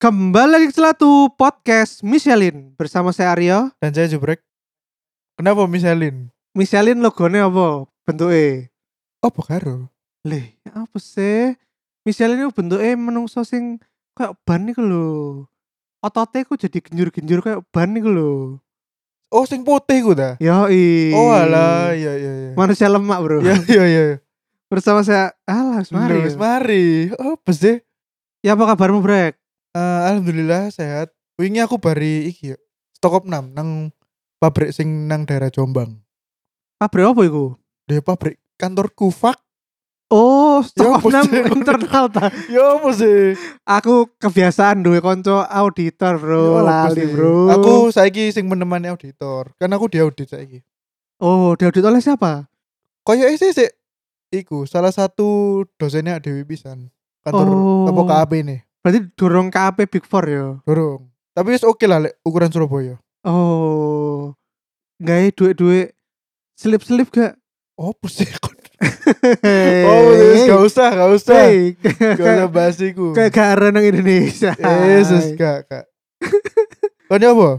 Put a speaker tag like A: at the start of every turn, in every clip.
A: Kembali lagi ke Celatu Podcast Michelin bersama saya Aryo.
B: Dan saya jubrek. Kenapa misalin?
A: Michelin logone apa? Bentuke.
B: Oh, Bokaro.
A: Leh, apa sih? Michelin itu bentuke menungso sing kayak ban iku lho. Otote ku jadi genjur-genjur kayak ban iku lho.
B: Oh, sing putih ku ta.
A: Yoi.
B: Oh, alah, iya iya iya.
A: Manusia lemak, Bro.
B: Iya iya iya.
A: Bersama saya Alah,
B: Mari,
A: mari.
B: mari. Oh, apa sih?
A: Ya apa kabarmu, Brek?
B: Eh, alhamdulillah sehat. Wingi aku bari iki ya. Stok 6 nang pabrik sing nang daerah Jombang.
A: Pabrik apa iku?
B: Di pabrik kantorku fuck.
A: Oh,
B: Ya,
A: stok
B: apa
A: enam
B: sih?
A: internal ta.
B: Ya apa sih?
A: Aku kebiasaan duwe konco auditor, Bro.
B: Ya apa
A: Lali,
B: sih?
A: Bro.
B: Aku saiki sing menemani auditor. Kan aku diaudit saiki.
A: Oh, diaudit oleh siapa?
B: Koyoke sih sih iku salah satu dosennya Dewi pisan. Kantor
A: Oh.
B: apa KAP nih.
A: Berarti dorong KAP Big Four ya.
B: Dorong. Tapi wis oke lah lek ukuran Surabaya.
A: Oh, nggak duit-duit selip-selip gak?
B: Oh, sih? Oh, wis gak usah, gak usah.
A: Hey,
B: Gak usah bahas iku.
A: kayak gak ada nang Indonesia.
B: Yesus, gak, gak. Kau ini apa?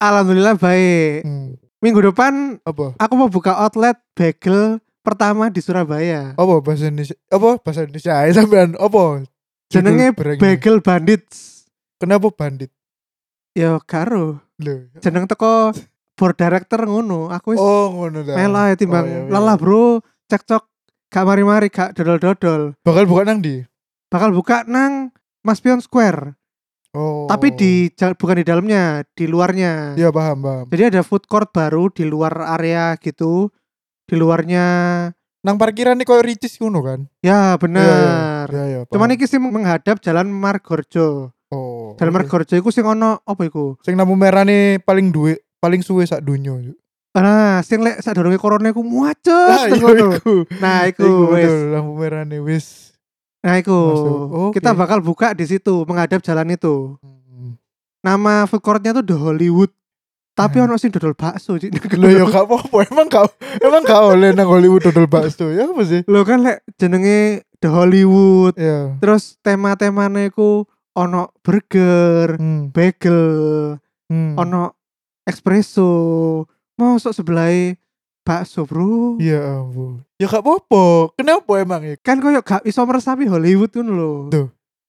A: Alhamdulillah baik.
B: Hmm,
A: Minggu depan
B: apa?
A: aku mau buka outlet bagel pertama di Surabaya.
B: Apa bahasa Indonesia? Apa bahasa Indonesia? Ayo sampean apa? Judul
A: Jenenge
B: barangnya.
A: Bagel Bandits.
B: Kenapa bandit?
A: Yo karo.
B: Loh.
A: Jeneng teko board director ngono. Aku wis
B: Oh, ngono dah.
A: melah ya timbang
B: Oh, iya, iya.
A: lelah, Bro. Cekcok gak mari-mari gak dodol-dodol.
B: Bakal buka nang di?
A: Bakal buka nang Mas Pion Square.
B: Oh.
A: Tapi di jal- bukan di dalamnya, di luarnya.
B: Iya, paham, paham.
A: Jadi ada food court baru di luar area gitu. Di luarnya
B: Nang parkiran nih koyo ricis ngono kan?
A: ya benar.
B: Iya, iya. paham.
A: Cuman iki sih menghadap Jalan Margorjo.
B: oh.
A: Jalan
B: oke.
A: Margorjo iku sing ono apa iku?
B: Sing lampu merah nih paling duwe paling suwe sak dunyo.
A: Nah, sing lek sadurunge corona iku
B: Ah,
A: muacet.
B: iya,
A: teng kono.
B: iku.
A: Nah, iku
B: Iku
A: wis.
B: betul, lampu merah nih wis.
A: Nah, iku.
B: Masuk. Oke.
A: Kita bakal buka di situ menghadap jalan itu.
B: Hmm.
A: Nama food courtnya tuh The Hollywood. Tapi
B: Hmm.
A: ono sing dodol bakso. Cik.
B: Loh ya gak apa-apa Emang gak Emang gak oleh Nang Hollywood dodol bakso Ya apa sih
A: Lho kan lek jenenge The Hollywood
B: Ya
A: Terus tema-temane iku ono burger,
B: hmm.
A: bagel,
B: hmm.
A: ono espresso. Mosok sebelah bakso, Bro.
B: Ya ampun Ya gak apa-apa Kenapa emang ya
A: Kan koyo gak iso meresapi Hollywood ngono lho.
B: Duh.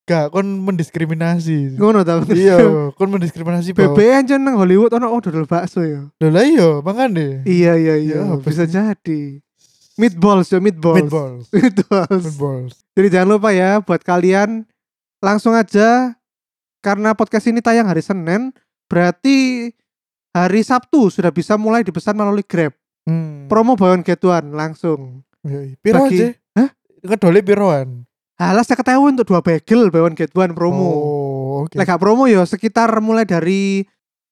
B: Gak Kon mendiskriminasi
A: Ngono ta.
B: Iya Kon mendiskriminasi bahwa-
A: BBN jeneng Hollywood ono oh dodol bakso ya.
B: Loh lah iya Makanya
A: Iya iya iya,
B: Ya,
A: bisa jadi. Meatballs ya, meatballs.
B: Meatballs
A: Meatballs.
B: Meatballs
A: Jadi jangan lupa ya buat kalian langsung aja karena podcast ini tayang hari Senin, berarti hari Sabtu sudah bisa mulai dipesan melalui Grab.
B: hmm.
A: Promo bawaan getuan langsung.
B: Yoi. Piro
A: Bagi-
B: aja
A: Hah?
B: Ngedole piroan
A: Halah saya ketahui untuk dua bagel bawaan getuan promo.
B: Oh oke
A: Lek gak promo ya sekitar mulai dari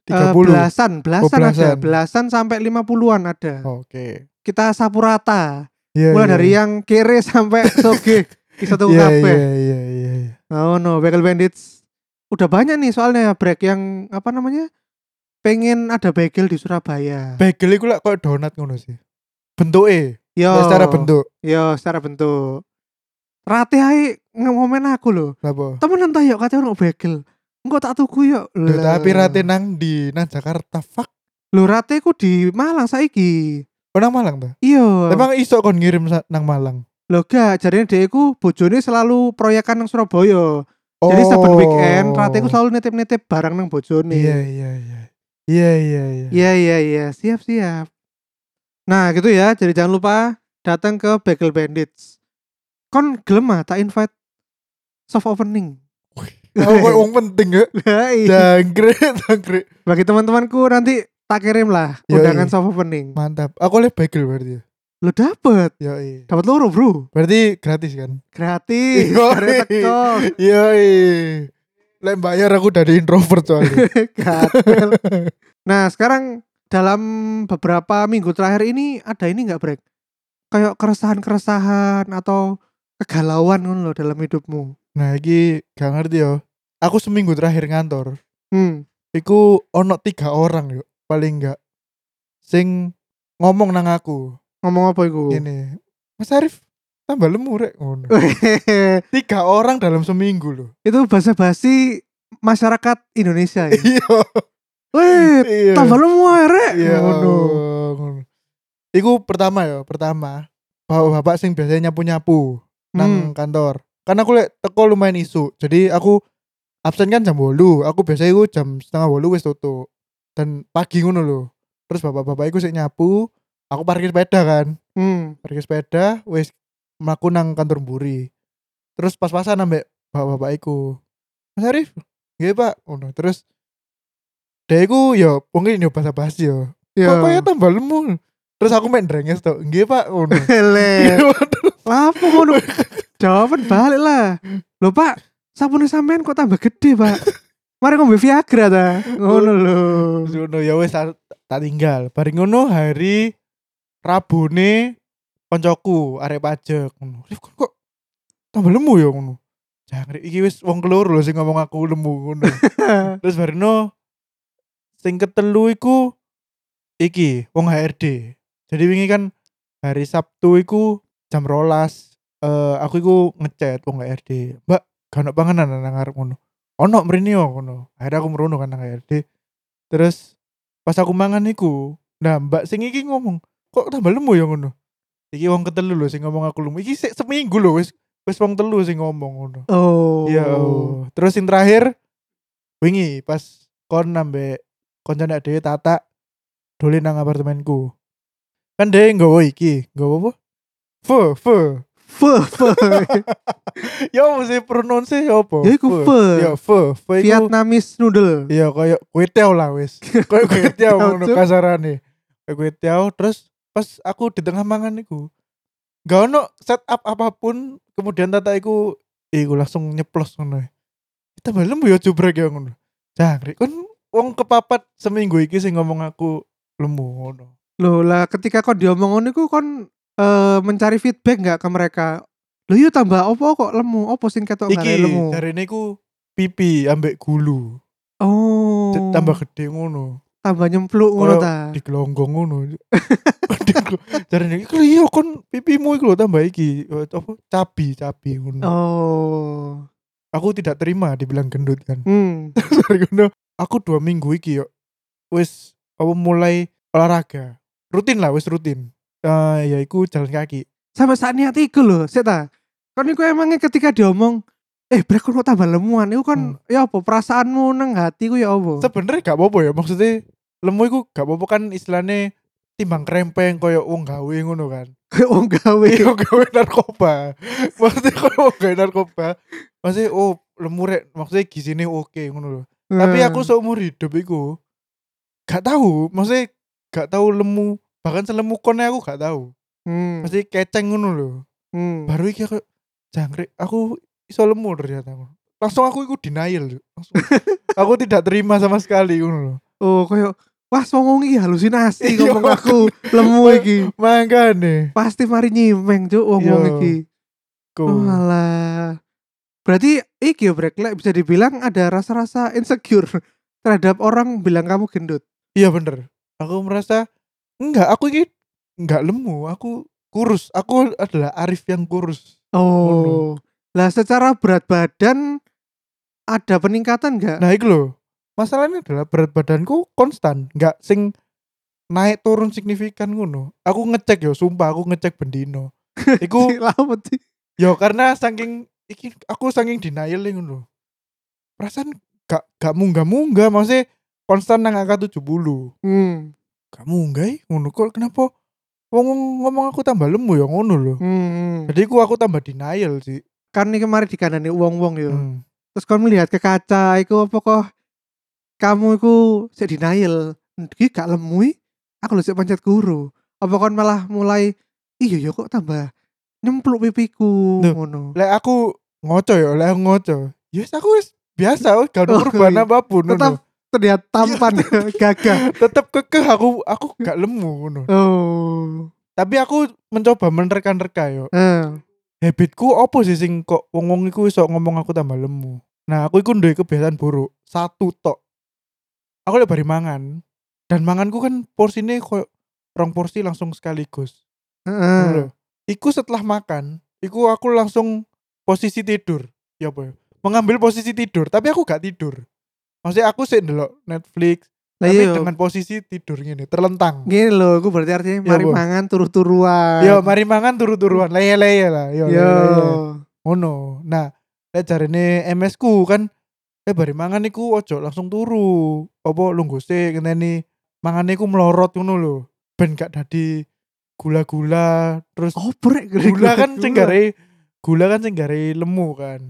A: eh,
B: 30
A: belasan, belasan,
B: Oh,
A: ada,
B: belasan.
A: belasan sampai 50-an ada.
B: Oke
A: Kita sapu rata.
B: Iya,
A: Mulai
B: iya.
A: dari yang kiri sampai soge. Kita tuh
B: Iya
A: kabeh.
B: iya iya iya iya.
A: Oh no, Bagel Bandits udah banyak nih soalnya break yang apa namanya pengen ada bagel di Surabaya.
B: Bagel iku lak koyo donat ngono sih Bentuknya
A: yo,
B: Lek Ya, Secara bentuk
A: Yo, secara bentuk. Rati ae ngomen aku loh.
B: Apa
A: Temenan ta yuk katanya ono bagel. Engko tak tuku yuk.
B: Duh,
A: Lah.
B: tapi rate nang di nang Jakarta fuck.
A: Lho rate ku di Malang saiki.
B: Oh nang Malang ta?
A: Iya.
B: Emang iso kon ngirim sa- nang Malang.
A: Lho gak jarine dhek iku bojone selalu proyekan nang Surabaya.
B: Oh.
A: Jadi saben weekend rate ku selalu nitip-nitip barang nang bojone.
B: Iya iya iya. Iya iya iya.
A: Iya iya iya siap siap. Nah gitu ya jadi jangan lupa datang ke Bagel Bandits. Kon gelem ah, tak invite soft opening.
B: Oh, kok wong penting ya.
A: Lah, iya.
B: Jangkrik, jangkrik.
A: Bagi teman-temanku nanti tak kirim lah
B: Yoi.
A: undangan soft opening.
B: Mantap. Aku oleh bagel berarti ya.
A: Lo dapet
B: Yo iya.
A: dapat loro bro
B: Berarti gratis kan?
A: gratis.
B: Yoi.
A: Karena teko.
B: Yo iya. Lek bayar aku dari introvert soalnya.
A: Gatel. nah sekarang dalam beberapa minggu terakhir ini ada ini nggak break? Kayak keresahan-keresahan atau kegalauan ngono lo dalam hidupmu.
B: nah, iki gak ngerti yo. Aku seminggu terakhir ngantor.
A: Hmm.
B: iku ono tiga orang yuk paling enggak sing ngomong nang aku
A: Ngomong apa iku?
B: ini Mas Arif
A: Eh,
B: tambah lemu rek ngono
A: Hehehe.
B: tiga orang dalam seminggu loh
A: itu bahasa basi masyarakat Indonesia ya.
B: Iya.
A: Wih,
B: Iya.
A: Eh, tambah lu muarek.
B: Iya.
A: Ngono.
B: ngono. Iku pertama ya, pertama. Bapak-bapak sing biasanya nyapu-nyapu nang
A: Hmm.
B: kantor. Karena aku lek teko lumayan isu. Jadi aku absen kan jam 8. Aku biasanya iku jam setengah 8 wis tutup. Dan pagi ngono lho. Terus bapak-bapak iku sik nyapu, aku parkir sepeda kan.
A: Hmm.
B: Parkir sepeda wis mlaku nang kantor mburi. Terus pas-pasan ambek bapak-bapak iku. Mas Arif, nggih Pak. Ngono. Terus dia iku yo mungkin yo basa-basi yo
A: Iya.
B: kok kaya tambah lemu terus aku main drenges tuh nggih pak ngono Iya,
A: Hele. Lapo ngono? Jawaban balik lah. Lho Pak, sabune sampean kok tambah gede, Pak. Mari ngombe Viagra ta. Ngono lho.
B: Terus ngono ya wes tak tak tinggal bareng ngono hari Rabone koncoku arek pajak ngono Rif kok kok tambah lemu ya ngono jangkrik iki wis wong kelur lho sing ngomong aku lemu ngono terus bareng no, sing ketelu iku iki wong HRD jadi wingi kan hari Sabtu iku jam rolas eh aku iku ngechat wong HRD mbak gak ono panganan nang ngarep ngono ono mrene yo ngono akhirnya aku merono kan nang HRD terus pas aku mangan iku nah mbak sing iki ngomong kok tambah lemu ya ngono iki wong ketelu lho sing ngomong aku lemu iki sik seminggu lho wis wis wong telu sing ngomong ngono
A: Oh.
B: Iya. Terus yang terakhir wingi pas kon nambe koncone dhewe Tata dolen nang apartemenku. Kan dhewe nggawa iki, nggawa apa? Fe, fe.
A: Fe, fe.
B: Ya mesti pronounce ya apa?
A: Ya iku fe.
B: Ya fe, fe iku-
A: Vietnamese noodle.
B: Iya koyo kue tiaw lah wis. Koyo kue tiaw ngono
A: Cuk.
B: kasarane. Koyo kue tiaw terus pas aku di tengah mangan iku gak ono setup apapun kemudian tata iku iku langsung nyeplos ngono. Kita belum ya jubrek ya ngono. Jangkrik kan wong kepapat seminggu iki sing ngomong aku lemu ngono.
A: Loh lah ketika kon diomong ngono iku kon eh, mencari feedback nggak ke mereka? Loh iya tambah opo kok lemu? Opo sing ketok nggak ada
B: Iki
A: lemu?
B: jarine iku pipi ambek gulu
A: Oh.
B: J- tambah gede ngono
A: tambah nyempluk ngono
B: Koyo
A: ta.
B: digelonggong ngono. Jarene iki "Lho, iya kon pipimu iku lho tambah iki Eh, apa cabi cabi ngono.
A: Oh.
B: Aku tidak terima dibilang gendut kan.
A: Hmm.
B: Dari ngono, aku dua minggu iki yo wis apa mulai olahraga. Rutin lah wis rutin. Eh ya iku jalan kaki.
A: Sampai saat niat iku lho, sik ta. Kon iku emangnya ketika diomong eh brek kon kok tambah lemuan iku kon
B: Hmm.
A: ya apa perasaanmu nang hati ku ya apa?
B: Sebenarnya gak apa-apa ya maksudnya lemu iku gak apa-apa kan istilahnya timbang krempeng koyo wong gawe ngono kan.
A: Kayak wong gawe.
B: Iya gawe narkoba. Maksudnya kalau gawe narkoba, maksudnya oh lemu rek, maksudnya gizine oke ngono lho.
A: Hmm.
B: Tapi aku seumur hidup iku gak tahu, maksudnya gak tahu lemu, bahkan selemu kone aku gak tahu.
A: hmm.
B: Mesti keceng ngono lho.
A: hmm.
B: Baru iki aku jangkrik, aku iso lemu ternyata. Langsung aku iku denial. lho. Langsung. aku tidak terima sama sekali ngono lho.
A: Oh, koyo wah songong iki halusinasi
B: Iya,
A: ngomong aku lemu iki.
B: Mangkane.
A: Pasti mari nyimeng cuk wong wong
B: Iya.
A: iki.
B: Ku.
A: Oh, alah. Berarti iki ya brek lek bisa dibilang ada rasa-rasa insecure terhadap orang bilang kamu gendut.
B: Iya bener. Aku merasa enggak, aku ini enggak lemu, aku kurus. Aku adalah Arif yang kurus.
A: Oh. Lah secara berat badan ada peningkatan nggak?
B: Nah, itu loh. Masalahnya adalah berat badanku konstan, enggak sing naik turun signifikan ngono. Aku ngecek yo, sumpah aku ngecek bendino. Iku
A: Si lawet sih.
B: yo karena saking iki aku saking denial nih ngono. Perasaan gak gak munggah-munggah maksudnya konstan nang angka 70.
A: Hmm.
B: Gak munggah eh, ngono kok kenapa wong ngomong aku tambah lemu ya ngono loh.
A: Hmm.
B: Jadi aku aku tambah denial sih.
A: Kan ini kemarin dikandani uang-uang ya.
B: Hmm.
A: Terus kau melihat ke kaca, iku apa kok kamu iku sik denial. Iki gak lemui, aku lho sik pancet guru. Apa kau malah mulai iya ya kok tambah nyempluk pipiku
B: Duh.
A: ngono.
B: Lek aku ngoco ya, lek aku ngoco. Yes aku wis biasa wis gak
A: Oh,
B: ada perubahan
A: iya.
B: apapun
A: Tetap
B: ngono.
A: terlihat tampan Iya, gagah.
B: tetap kekeh aku aku gak lemu ngono.
A: Oh.
B: Tapi aku mencoba menerka-nerka yo.
A: Eh.
B: Habitku opo sih sing kok wong-wong iku iso ngomong aku tambah lemu. Nah, aku iku nduwe kebiasaan buruk. Satu tok. Aku lek bari mangan dan manganku kan porsine koyo rong porsi langsung sekaligus.
A: Heeh.
B: Lho. Iku setelah makan, iku aku langsung posisi tidur. Ya apa ya? mengambil posisi tidur tapi aku gak tidur maksudnya aku sih ndelok Netflix
A: Lah
B: tapi
A: iya.
B: dengan posisi tidur gini terlentang
A: Gini loh, aku berarti artinya
B: Iya,
A: mari
B: Bu. Iya,
A: mangan turu-turuan.
B: yo mari mangan turu-turuan leye-leye lah yo,
A: Nah. Yo.
B: leye-leye. ngono nah lek jarine MS ku kan eh bari mangan niku ojo langsung turu apa lungguh sik ngenteni mangane ku melorot ngono lho ben gak dadi gula-gula terus
A: Oprek
B: gula kan sing gare gula kan sing gare lemu kan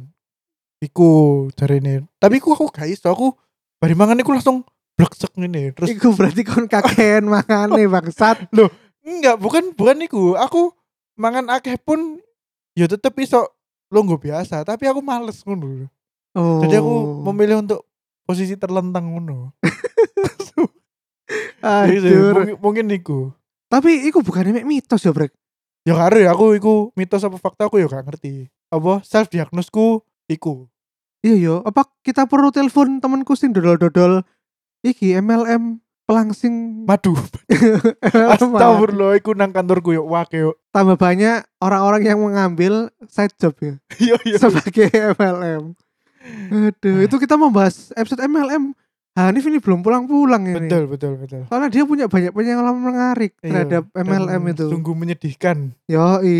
B: iku jarine tapi ku aku gak iso aku bari mangan niku langsung bleksek ngene terus
A: Iku berarti kon kakean mangane bangsat.
B: enggak bukan bukan niku aku mangan akeh pun ya tetep iso lungguh biasa tapi aku males ngono lho
A: Oh.
B: Jadi aku memilih untuk posisi terlentang ngono. Jadi,
A: Aduh.
B: mungkin, mungkin niku.
A: Tapi iku bukan mek mitos ya, Brek.
B: Ya karo ya aku iku mitos apa fakta aku ya gak ngerti. Apa self diagnosku iku.
A: Iya yo, apa kita perlu telepon temanku sing dodol-dodol iki MLM pelangsing
B: Madu. Astagfirullah iku nang kantorku ya, yo wake yo.
A: tambah banyak orang-orang yang mengambil side job ya
B: Yo yo.
A: sebagai MLM. Aduh, itu kita membahas episode MLM. Hanif ini belum pulang-pulang ini.
B: Betul betul betul.
A: Karena dia punya banyak pengalaman menarik
B: Iya,
A: terhadap
B: dan
A: MLM itu.
B: Sungguh menyedihkan.
A: Yoi.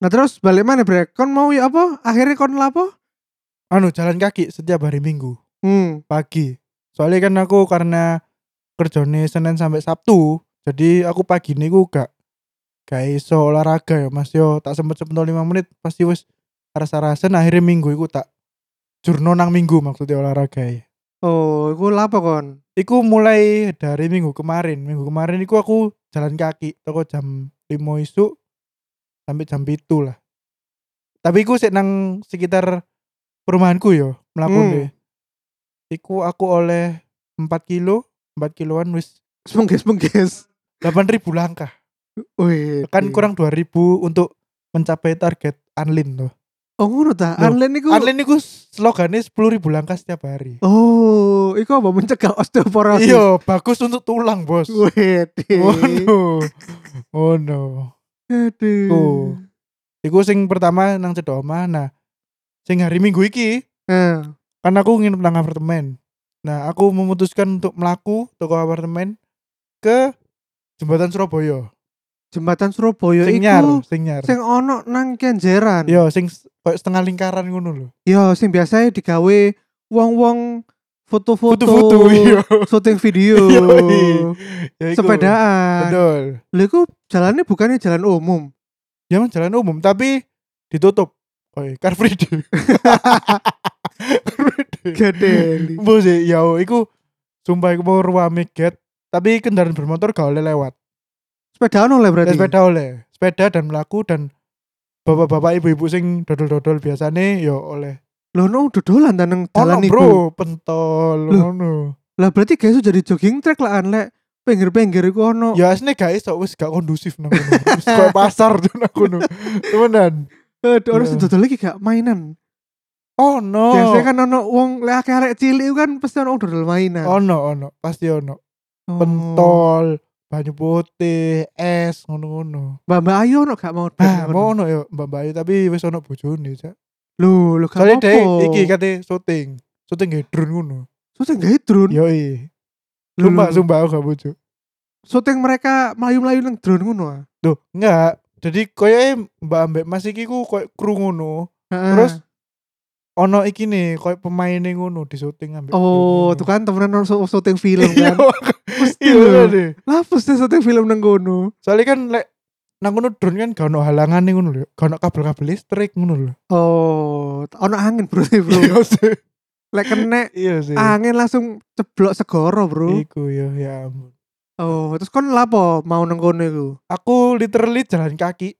A: Nah terus balik mana brek? Kon mau ya apa? Akhirnya kon lapo?
B: Anu jalan kaki setiap hari Minggu
A: Hmm.
B: pagi. Soalnya kan aku karena kerjane Senin sampai Sabtu, jadi aku pagi niku gak gak iso olahraga ya Mas yo. Tak sempet sempet 5 menit pasti wis rasa-rasen akhirnya minggu iku tak jurno nang minggu maksudnya olahraga ya.
A: Oh, iku lapo kon?
B: Iku mulai dari minggu kemarin. Minggu kemarin iku aku jalan kaki toko jam 5 isuk sampai jam itu lah. Tapi iku sik nang sekitar perumahanku yo,
A: Hmm.
B: melakukan Iku aku oleh 4 kilo, 4 kiloan wis
A: Semengges semengges.
B: 8000 langkah.
A: Wih. iya.
B: Kan kurang 2000 untuk mencapai target Unlin tuh.
A: Oh ngono ta?
B: Loh,
A: Online iku.
B: Unlin iku slogannya 10.000 langkah setiap hari.
A: Oh, iku apa mencegah osteoporosis?
B: Iya, bagus untuk tulang, Bos.
A: Wih.
B: Oh no. Oh no.
A: Aduh.
B: Tuh. Iku sing pertama nang cedok omah. Nah, sing hari Minggu iki
A: Eh,
B: kan aku nginep nang apartemen. Nah, aku memutuskan untuk melaku toko apartemen ke jembatan Surabaya.
A: jembatan Surabaya
B: Sing
A: Ya iku
B: nyar, Iya. sing nyar.
A: sing ono nang Kenjeran.
B: Yo, sing s- koyo setengah lingkaran ngono lho.
A: Yo, sing biasanya digawe wong-wong foto-foto,
B: Foto-foto yo.
A: syuting video,
B: Yoi. Ya, iku.
A: sepedaan.
B: Betul.
A: Lha iku jalannya bukannya jalan umum.
B: Ya emang jalan umum tapi ditutup. Oi, Car Free Day. Car Free Day.
A: Gede.
B: Bu sih, ya iku sumpah iku mau ruame get, tapi kendaraan bermotor gak oleh lewat.
A: Sepedaan oleh
B: Dan
A: berarti.
B: Ya, sepeda oleh, sepeda dan melaku dan bapak-bapak ibu-ibu sing dodol-dodol biasane ya oleh.
A: Loh no dodolan ta nang
B: Ono
A: dalan iku.
B: bro, pentol
A: Loh.
B: ngono.
A: Lah berarti guys jadi jogging track lah anlek pinggir-pinggir iku ono.
B: Ya asli gak iso wis gak kondusif nang ngono. Wis koyo pasar tuh nang ngono. Temenan.
A: Aduh, Eh, orang
B: Iya.
A: sing dodol iki gak mainan.
B: Ono.
A: Biasanya kan ono wong lek arek cilik iku kan pasti ono wong dodol mainan.
B: ono ono, pasti ono.
A: Oh.
B: Pentol, banyu putih, es ngono-ngono.
A: Mbak-mbak Ayu ono gak mau dodol.
B: Ah, mau ono yo Mbak Bayu tapi wis ono bojone, Cak.
A: Loh, loh gak
B: Soalnya
A: apa-apa.
B: deh, iki kan- kate syuting, syuting nggih drone ngono.
A: Syuting gawe drone.
B: Yoi.
A: Loh,
B: Ya, Sumpah,
A: loh, loh.
B: sumpah aku gak bojo.
A: Syuting mereka melayu-melayu nang drone ngono. ah.
B: Loh, enggak. Jadi koyoke Mbak Ambek Mas iki ku koyo kru ngono.
A: Heeh.
B: Terus ono iki nih koyo pemainnya ngono di syuting ambek.
A: Oh, itu kan temenan orang sy- syuting film kan. Mesti
B: Ya, Iya,
A: loh.
B: deh.
A: Lah pasti syuting film nang kono.
B: Soalnya kan lek nang ngono drone kan gak ono halangan ngono lho. Gak ono kabel-kabel listrik ngono lho.
A: Oh, ono angin bro, bro.
B: Iya sih.
A: Lek kena
B: Iya sih.
A: angin langsung ceblok segoro bro.
B: Iku ya, ya ampun.
A: Oh, terus kon lapo mau nang kono iku?
B: Aku literally jalan kaki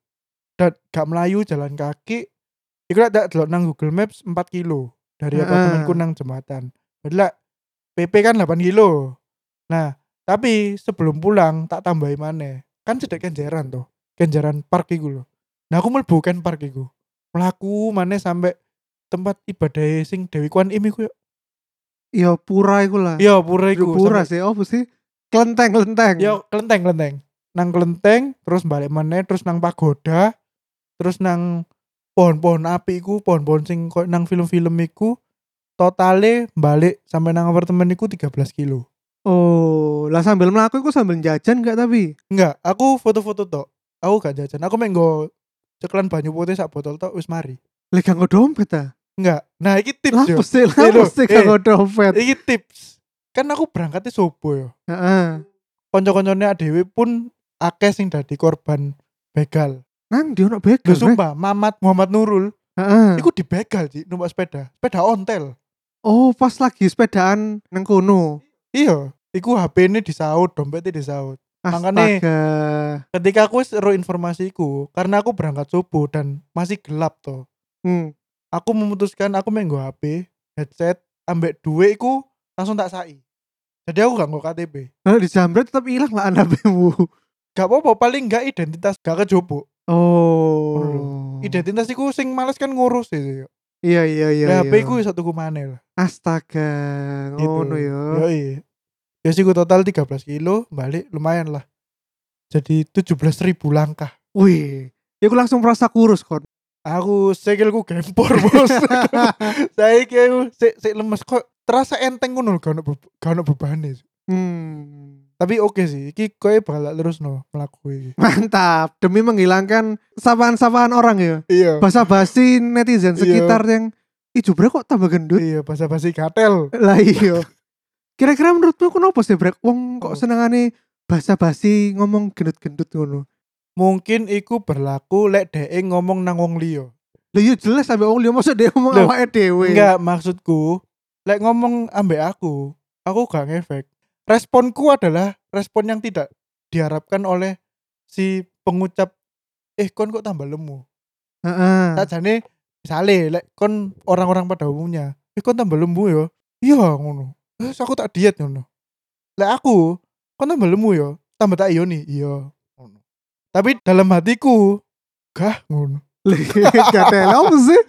B: dan gak melayu jalan kaki. Iku lek tak delok nang Google Maps 4 kilo dari
A: Heeh.
B: apartemenku nang jembatan. Berarti lek PP kan 8 kilo. Nah, tapi sebelum pulang tak tambahi maneh. Kan cedek kenjaran tuh. Kenjaran park iku lho. Nah, aku mlebu ken park iku. Melaku maneh sampai tempat ibadah sing Dewi Kwan Im iku yo.
A: Ya pura iku lah.
B: Iya, pura
A: Yo,
B: iku.
A: pura
B: Sampai-
A: sih. Oh, sih. Kelenteng-kelenteng.
B: Yo, kelenteng-kelenteng. Nang kelenteng terus balik maneh terus nang pagoda terus nang pohon-pohon api iku, pohon-pohon sing koyo nang film-film iku totale balik sampai nang apartemen iku 13 kilo.
A: Oh, lah sambil melaku iku sambil jajan nggak tapi?
B: Enggak, aku foto-foto tok. Aku gak jajan. Aku main go cekelan banyu putih sak botol tok wis mari.
A: Lah gak nggo dompet ta?
B: Enggak. Nah, iki tips
A: Lah
B: yo.
A: pasti, lah
B: Eh, lho,
A: pasti gak
B: eh.
A: nggo dompet.
B: Iki tips. Kan aku berangkatnya sobo yo.
A: Heeh.
B: Kanca-kancane adewe pun akeh sing dadi korban begal.
A: Nang dia ono begal.
B: Lho
A: Rek.
B: sumpah, Mamat Muhammad Nurul
A: Heeh.
B: iku dibegal sih numpak sepeda. Sepeda ontel.
A: Oh, pas lagi sepedaan nang kono.
B: Iya, iku HP-ne disaut, dompetnya disaut. Makane-
A: Astaga.
B: Ketika aku wis ero informasi iku, karena aku berangkat subuh dan masih gelap toh.
A: Hmm.
B: Aku memutuskan aku menggo HP, headset, ambek duit iku langsung tak sai. Jadi aku gak nggo KTP.
A: Nah, dijamret tetap hilang lah anak
B: Gak apa-apa paling gak identitas gak kejobo.
A: Oh.
B: Identitas iku sing males kan ngurus itu.
A: Iya iya iya.
B: Ya,
A: iya.
B: HP iku satu maneh lah.
A: Astaga.
B: Gitu.
A: Ngono ya.
B: Yo iya. Ya sih gua total 13 kilo, balik lumayan lah. Jadi 17.000 langkah.
A: Wih. Ya aku langsung merasa kurus kon.
B: Aku sikilku gempor, Bos. Saya kayak sik sik lemes kok terasa enteng ngono lho gak ono beb- gak ono bebane.
A: hmm.
B: Tapi oke sih, iki koe bakal terus no melakukan.
A: Mantap. Demi menghilangkan sapaan-sapaan orang ya.
B: Iya.
A: Bahasa basi netizen
B: Iya.
A: sekitar yang Ih jubra kok tambah gendut
B: Iya, basa-basi gatel.
A: Lah iya Kira-kira menurutmu kenapa sih brek Wong kok
B: Oh.
A: senengane bahasa basi ngomong gendut-gendut ngono
B: Mungkin iku berlaku lek dhek ngomong nang wong liya.
A: Lah iya jelas sampe wong liya mosok dia ngomong
B: Loh,
A: awake dhewe.
B: Enggak, maksudku lek ngomong ambek aku, aku gak ngefek. Responku adalah respon yang tidak diharapkan oleh si pengucap eh kon kok tambah lemu.
A: Heeh.
B: sajane misale lek kon orang-orang pada umumnya eh kon tambah lembu yo iya ngono terus aku tak diet ngono lek aku kon tambah lembu yo tambah tak ioni iya ngono tapi dalam hatiku gah ngono
A: Lah, Gak ada yang apa sih?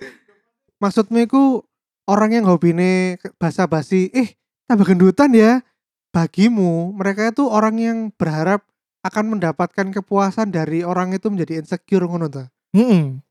A: Maksudmu iku orang yang hobine bahasa basi, eh tambah gendutan ya. Bagimu mereka itu orang yang berharap akan mendapatkan kepuasan dari orang itu menjadi insecure ngono ta.
B: Mm-mm.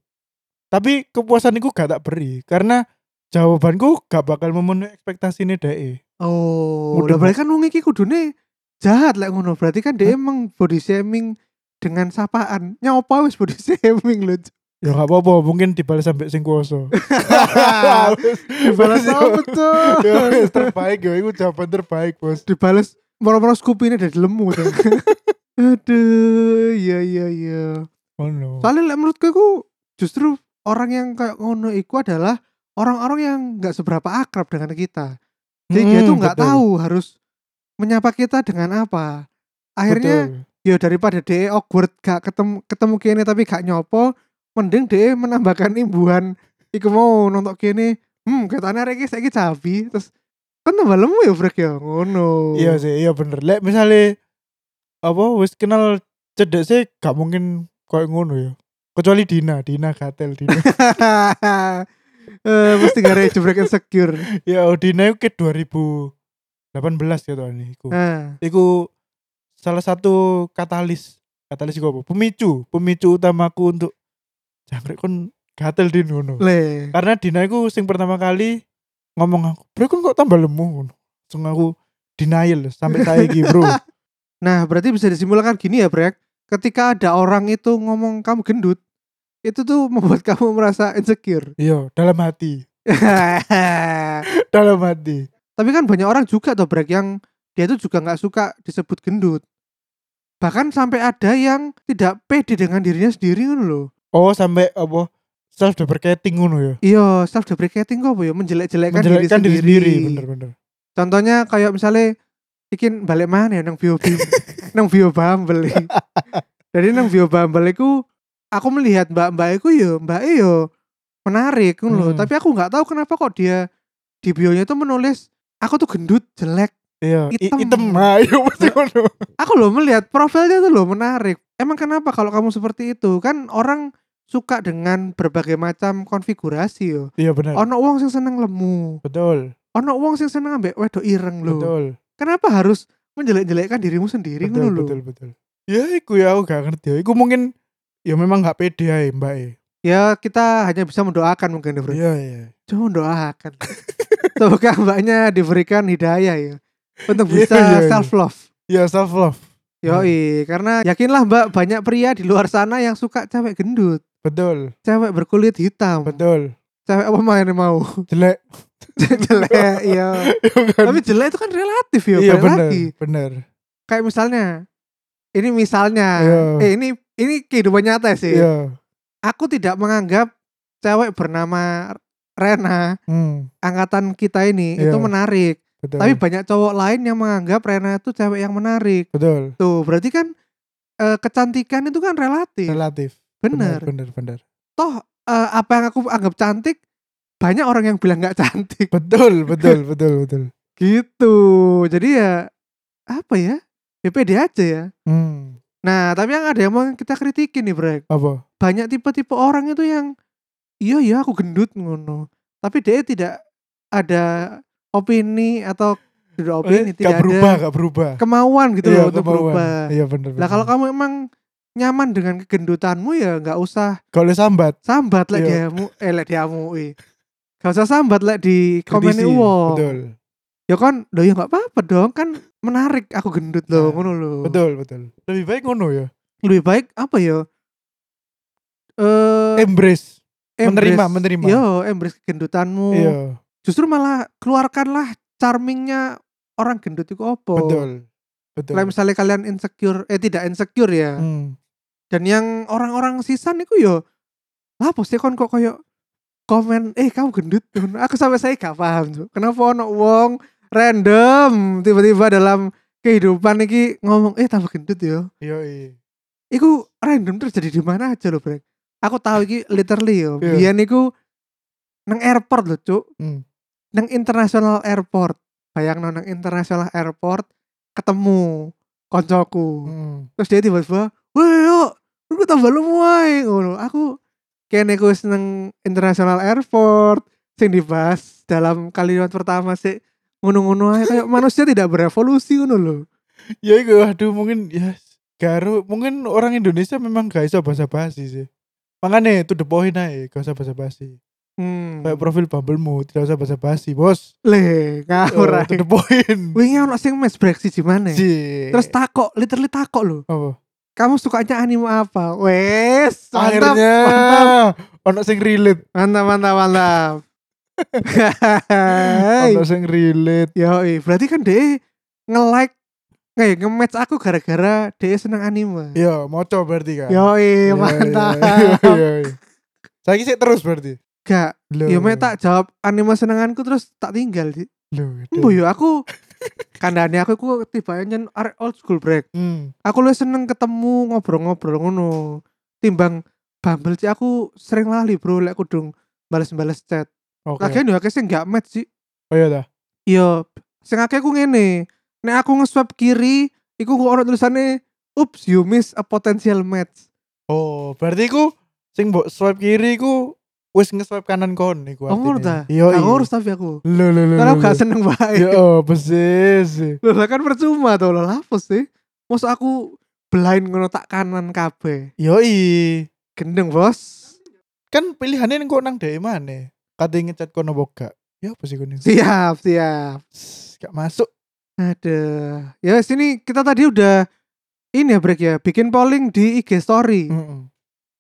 B: tapi kepuasan iku gak tak beri karena jawabanku gak bakal memenuhi ekspektasi e. ini deh
A: Oh, udah
B: Udah,
A: berarti kan wong iki kudune jahat lah ngono. Berarti kan dia emang body shaming dengan sapaan. Nyopa wis body shaming lho.
B: ya gak apa-apa mungkin dibalas sampai sing kuoso Ah,
A: Dibalas apa tuh?
B: Ya, wis, terbaik yo iku jawaban terbaik bos
A: dibales moro-moro scoop ini dari lemu tuh. Aduh, iya iya iya.
B: ngono
A: Soalnya lek menurutku iku justru orang yang kayak ngono iku adalah orang-orang yang nggak seberapa akrab dengan kita. Jadi dia
B: Mm,
A: tuh nggak
B: betul.
A: tahu harus menyapa kita dengan apa. Akhirnya
B: Betul.
A: ya daripada dia awkward gak ketemu ketemu kene tapi gak nyopo, mending dia menambahkan imbuhan iku mau nontok kene. Hmm, katanya reki saiki cabi terus kan tambah lemu ya brek ya ngono.
B: Iya sih, iya bener. Lek misalnya apa wis kenal cedek sih gak mungkin koyo ngono ya. Kecuali Dina, Dina gatel Dina.
A: Eh, mesti gak ada jebrek insecure.
B: ya oh, Dina itu ke 2018 ya tahun iku.
A: Nah,
B: Iku salah satu katalis, katalis iku apa? Pemicu, pemicu utamaku untuk jangkrik kon gatel Din ngono.
A: le.
B: Karena Dina iku sing pertama kali ngomong aku, "Bro, kon kok tambah lemu?" ngono. Langsung aku denial sampai saiki, Bro.
A: Nah, berarti bisa disimpulkan gini ya, Brek. Ketika ada orang itu ngomong kamu gendut, itu tuh membuat kamu merasa insecure.
B: Iya, dalam hati,
A: Tapi
B: dalam hati.
A: kan banyak orang juga tuh, Brek, yang dia tuh juga nggak suka disebut gendut. Bahkan sampai ada yang tidak pede dengan dirinya sendiri kan loh.
B: Oh sampai apa self deprecating ngono ya.
A: Iya, self deprecating kok apa ya menjelek-jelekkan diri,
B: Menjelekkan diri sendiri, bener-bener.
A: Contohnya kayak misalnya bikin balik mana ya nang bio bio nang bio bumble. Jadi nang bio bumble iku aku melihat mbak-mbak iku yo, mbak yo menarik kan loh.
B: Hmm.
A: Tapi aku nggak tahu kenapa kok dia di bio-nya itu menulis aku tuh gendut jelek.
B: Iya, i-
A: Item.
B: item. Nah, iya pasti ngono.
A: Aku loh melihat profilnya tuh loh menarik. Emang kenapa kalau kamu seperti itu? Kan orang suka dengan berbagai macam konfigurasi yo.
B: Iya bener.
A: Ono wong sing seneng lemu,
B: Betul.
A: ono wong sing seneng ambek wedok ireng loh.
B: Betul.
A: kenapa harus menjelek-jelekkan dirimu sendiri
B: Betul,
A: ngono lho?
B: betul, betul. Ya iku ya aku gak ngerti. Iku mungkin ya memang gak ya, pede ae, Mbak. e.
A: ya kita hanya bisa mendoakan mungkin bro
B: Iya iya.
A: cuma mendoakan semoga mbaknya diberikan hidayah ya untuk
B: Iya,
A: bisa
B: iya, Hmm. iya.
A: self love
B: Iya self love.
A: Yoi, karena yakinlah mbak banyak pria di luar sana yang suka cewek gendut,
B: Betul
A: cewek berkulit hitam,
B: betul.
A: cewek apa main yang mau
B: Jelek.
A: jelek, iya. Tapi jelek itu kan relatif ya,
B: iya
A: balik
B: benar
A: lagi.
B: benar.
A: Kayak misalnya, ini misalnya,
B: Iya.
A: eh ini ini kehidupan nyata sih.
B: Iya.
A: Aku tidak menganggap cewek bernama Rena
B: Hmm,
A: angkatan kita ini
B: Iya.
A: itu menarik.
B: betul.
A: Tapi banyak cowok lain yang menganggap Rena itu cewek yang menarik.
B: betul.
A: Tuh, berarti kan eh, kecantikan itu kan relatif.
B: Relatif.
A: Bener.
B: Benar benar.
A: toh eh, apa yang aku anggap cantik banyak orang yang bilang nggak cantik
B: Betul betul betul betul.
A: gitu jadi ya apa ya ya pede aja ya
B: Hmm.
A: nah tapi yang ada yang mau kita kritikin nih Brek
B: Apa?
A: banyak tipe-tipe orang itu yang iya iya aku gendut ngono tapi dia tidak ada opini atau tidak opini
B: Eh, gak
A: tidak
B: berubah
A: ada
B: gak berubah.
A: kemauan gitu
B: Iya,
A: loh untuk
B: kemauan.
A: berubah
B: Iya benar.
A: lah kalau kamu emang nyaman dengan kegendutanmu ya nggak usah
B: kalau sambat
A: sambat lek
B: Iya.
A: diamu eh lek diamu i. gak usah sambat lek di komen
B: kritisi.
A: uang
B: Betul.
A: ya kan lo ya nggak apa-apa dong kan menarik aku gendut
B: Nah,
A: loh ngono lo
B: Betul betul. Lebih baik ngono ya.
A: lebih baik apa ya eh
B: Embrace.
A: embrace.
B: menerima, menerima.
A: yo embrace kegendutanmu
B: Iya.
A: justru malah keluarkanlah charmingnya orang gendut itu apa
B: Betul. Betul.
A: Lah, misalnya kalian insecure eh tidak insecure ya
B: Hmm.
A: dan yang orang-orang sisan itu yo lah pasti kon kok koyo komen eh kamu gendut aku sampai saya gak paham Cuk. kenapa ono wong random tiba-tiba dalam kehidupan iki ngomong eh tambah gendut yo
B: Iya iya.
A: iku random terjadi di mana aja loh brek aku tahu iki literally yo
B: Iya.
A: biyen iku nang airport loh cuk
B: Hmm.
A: nang international airport bayang nang international airport ketemu koncoku
B: Hmm.
A: terus dia tiba-tiba wah yuk aku tambah lu muai ngono aku kene ku seneng international airport sing dibahas dalam kalimat pertama sih ngono-ngono ae kayak manusia tidak berevolusi ngono lho
B: Ya iku aduh mungkin ya garu mungkin orang Indonesia memang gak iso bahasa basi sih. Makanya itu the point aja, gak usah bahasa basi.
A: hmm.
B: Kayak profil Bumblemu tidak usah bahasa basi, bos.
A: le ngawur
B: Eh,
A: ae
B: to the point.
A: wingi ono sing match break siji maneh
B: Jee.
A: terus takok literally takok lho
B: apa?
A: kamu sukanya anime apa wes mantap
B: Akhirnya ono sing relate,
A: mantap mantap mantap Hai.
B: ono sing relate.
A: Ya, berarti kan dia nge-like kayak nge-match aku gara-gara dia seneng anime.
B: Iya, moco berarti kan.
A: Yoi,
B: Iya,
A: mantap.
B: iya, iya, iya. Saiki sih terus berarti.
A: Gak,
B: Loh.
A: ya mek tak jawab anime senenganku terus tak tinggal. Di.
B: Loh,
A: Embo yo aku kandane aku iku tiba nyen arek old school break.
B: Hmm.
A: Aku lu seneng ketemu ngobrol-ngobrol ngono. Timbang Bumble sih aku sering lali, Bro, lek kudung bales-bales chat.
B: Oke.
A: Lagian yo akeh sing gak match sih.
B: Oh iya dah.
A: Iya, sing akeh ku ngene. Nek aku nge-swipe kiri, iku ku ono tulisane Oops, you miss a potential match.
B: Oh, berarti ku sing mbok swipe kiri ku wis nge-swipe kanan kon iku
A: Oh, ngurus ta?
B: Iya.
A: Gak ngurus tapi aku.
B: Lho lho lho.
A: Karena aku
B: lho.
A: gak seneng
B: Ya
A: baik.
B: oh, persis.
A: Loh, lah kan percuma to, lah apa sih? Masa aku blind ngono tak kanan kabeh.
B: Yoi.
A: Gendeng, Bos.
B: Kan pilihannya engko nang dhewe maneh. Kate ngechat kono apa gak? Ya apa sih kono?
A: Siap, siap.
B: Sss, Gak masuk.
A: Aduh. Ya sini kita tadi udah ini ya break ya, bikin polling di IG story.
B: Mm-mm.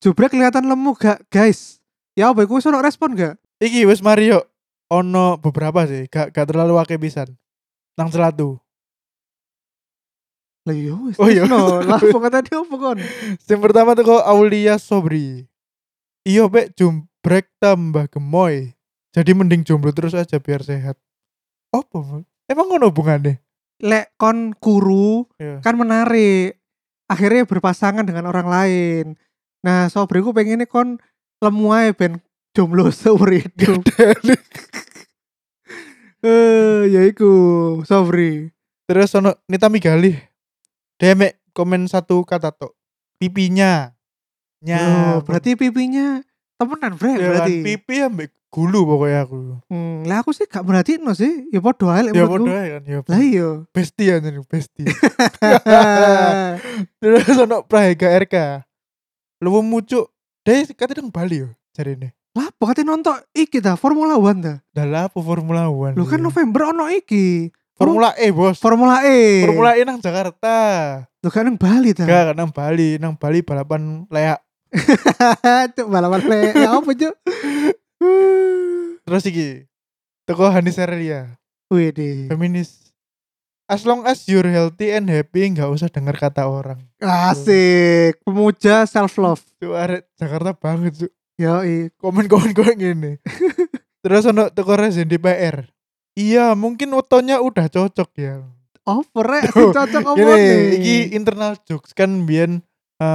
A: Jubrek kelihatan lemu gak, guys? Ya apa iku wis ono respon gak?
B: Iki wis Mario ono beberapa sih, gak gak terlalu akeh pisan. Nang selatu.
A: Lah iya wis.
B: Oh, iya.
A: No, lah pokoknya tadi apa kon?
B: Yang pertama tuh kok Aulia Sobri. Iyo be jumbrek tambah gemoy. Jadi mending jomblo terus aja biar sehat. Apa? Bang? Emang ngono hubungannya?
A: Lek kon kuru
B: Iya.
A: kan menarik. Akhirnya berpasangan dengan orang lain. Nah, sobriku pengennya kon lemu ae ben jomblo seumur hidup. Eh, ya iku, sobri.
B: Terus ono Nita Migali. Demek komen satu kata tok. Pipinya.
A: Loh,
B: Nya.
A: berarti pipinya temenan bre
B: Ya kan,
A: berarti.
B: pipi ambek gulu pokoknya aku.
A: Hmm, lah aku sih gak berarti no sih. Ya podo ae lek
B: Ya
A: menurutku.
B: bodoh kan ya.
A: Lah iya. Eh,
B: Bestie anjir, bestie. Terus ono Prahega RK. Lu mucuk Deh, katanya nang Bali yo jarine.
A: Lah, pokoknya nonton iki dah Formula One dah.
B: Dalah apa Formula 1?
A: Lo kan November ono iki.
B: Formula E, Bos.
A: Formula E.
B: Formula E nang Jakarta.
A: Lo kan nang Bali dah.
B: Enggak, nang Bali, nang Bali balapan leak.
A: Cuk balapan le. Ya apa cuk?
B: Terus iki. Teko Hanis Aurelia,
A: Wih deh.
B: feminis. As long as you're healthy and happy, nggak usah dengar kata orang.
A: Asik. Pemuja self love.
B: Itu arek Jakarta banget, Cuk.
A: Yoi.
B: komen-komen gue gini terus ono teko Rezen di PR iya mungkin otonya udah cocok ya
A: Over rek
B: Tuh,
A: cocok
B: gini
A: omong nih.
B: iki internal jokes kan biar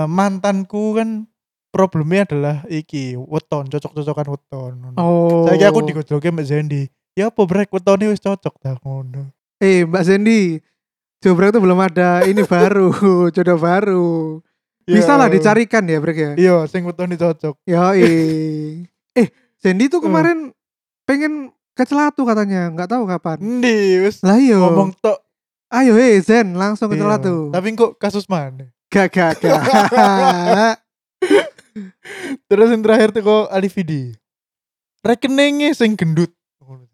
B: mantanku kan problemnya adalah iki weton cocok-cocokan weton
A: Oh.
B: saya aku digojloke Mbak Zendi ya apa brek wetone wis cocok dah ngono
A: Eh, Mbak Sandy. Jobrek itu belum ada ini baru, jodoh baru. Bisa lah dicarikan ya, Brek ya.
B: iya sing wetone cocok
A: Yoi. eh, Sandy tuh
B: Hmm.
A: kemarin pengen ke Celatu katanya, nggak tahu kapan.
B: endi wis
A: Lah iya.
B: ngomong tok
A: Ayo eh Zen langsung ke
B: Iya.
A: Celatu.
B: tapi kok kasus mana
A: Gak gak gak.
B: terus yang terakhir tuh kok Alividi rekeningnya sing gendut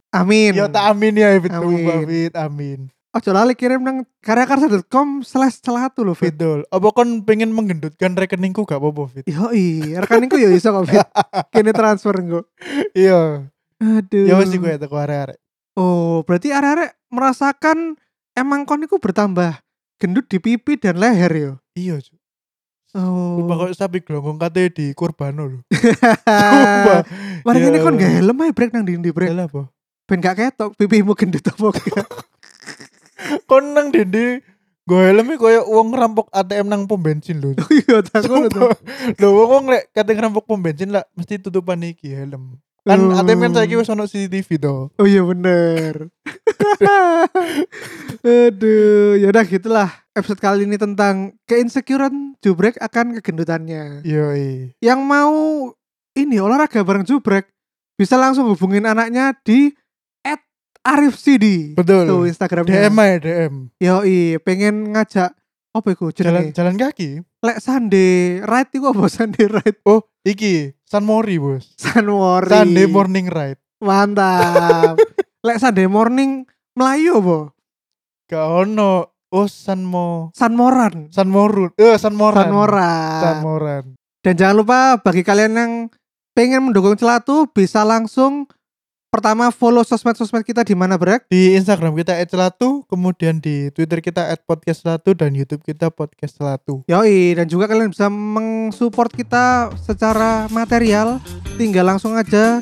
A: Amin.
B: Ya tak amin ya Fit
A: Amin.
B: Amin. Fit amin.
A: Ojo lali kirim nang karyakarsa.com slash Celatu loh Fit.
B: Fitdol. Apa kon pengen menggendutkan rekeningku gak apa-apa Fit?
A: Yoi, rekaningku yo iso kok Fit. Kini transfer engko.
B: Iya.
A: Aduh.
B: Ya wis iku ya teko arek-arek.
A: Oh, berarti arek-arek merasakan emang kon iku bertambah gendut di pipi dan leher yo.
B: Iya, Cuk. Sumpah
A: Oh.
B: kok sapi gelonggong kate di kurbano lho.
A: Sumpah.
B: Sumpah.
A: Mari
B: Ya.
A: ini kon gak helm ae brek nang dindi brek.
B: Yalah, apa?
A: Ben gak ketok pipimu gendut apa gak.
B: Kon nang dende gue helmnya koyo wong ngerampok ATM nang pom bensin lho.
A: Oh Iya, tak ngono tuh.
B: Sumpah. Lho wong wong lek kate ngerampok pom bensin lah mesti tutupan iki helm. Kan
A: Oh.
B: ATM kan saiki wis ono CCTV to.
A: Oh iya bener. Aduh, yaudah gitulah episode kali ini tentang keinsecurean Jubrek akan kegendutannya.
B: Iya.
A: Yang mau ini olahraga bareng Jubrek bisa langsung hubungin anaknya di @arifcd. Tuh
B: Betul.
A: Instagramnya.
B: DM aja DM.
A: Yoi, pengen ngajak apa iku
B: Jalan
A: jenenge?
B: jalan kaki.
A: Lek Sunday Ride iku apa Sunday Ride
B: Oh, iki San Mori, Bos.
A: Sunwori.
B: Sunday morning ride.
A: Mantap. Lek Sunday morning Melayu apa?
B: Gak ono. Oh, Sanmo.
A: Sunmoran.
B: Sanmorun. Eh, Sanmoran.
A: Sunmoran.
B: Sanmoran.
A: Dan jangan lupa bagi kalian yang pengen mendukung Celatu bisa langsung pertama follow sosmed-sosmed kita di mana Brek?
B: Di Instagram kita @celatu, kemudian di Twitter kita @podcastcelatu dan YouTube kita podcastcelatu.
A: Yoi, dan juga kalian bisa mensupport kita secara material Tinggal langsung aja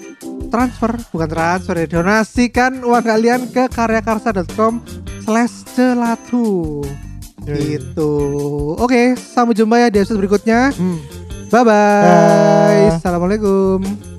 A: transfer, bukan transfer ya Donasikan uang kalian ke karyakarsa.com slash celatu
B: Yoi.
A: Gitu Oke, sampai jumpa ya di episode berikutnya
B: Hmm.
A: Bye-bye
B: Dah.
A: Assalamualaikum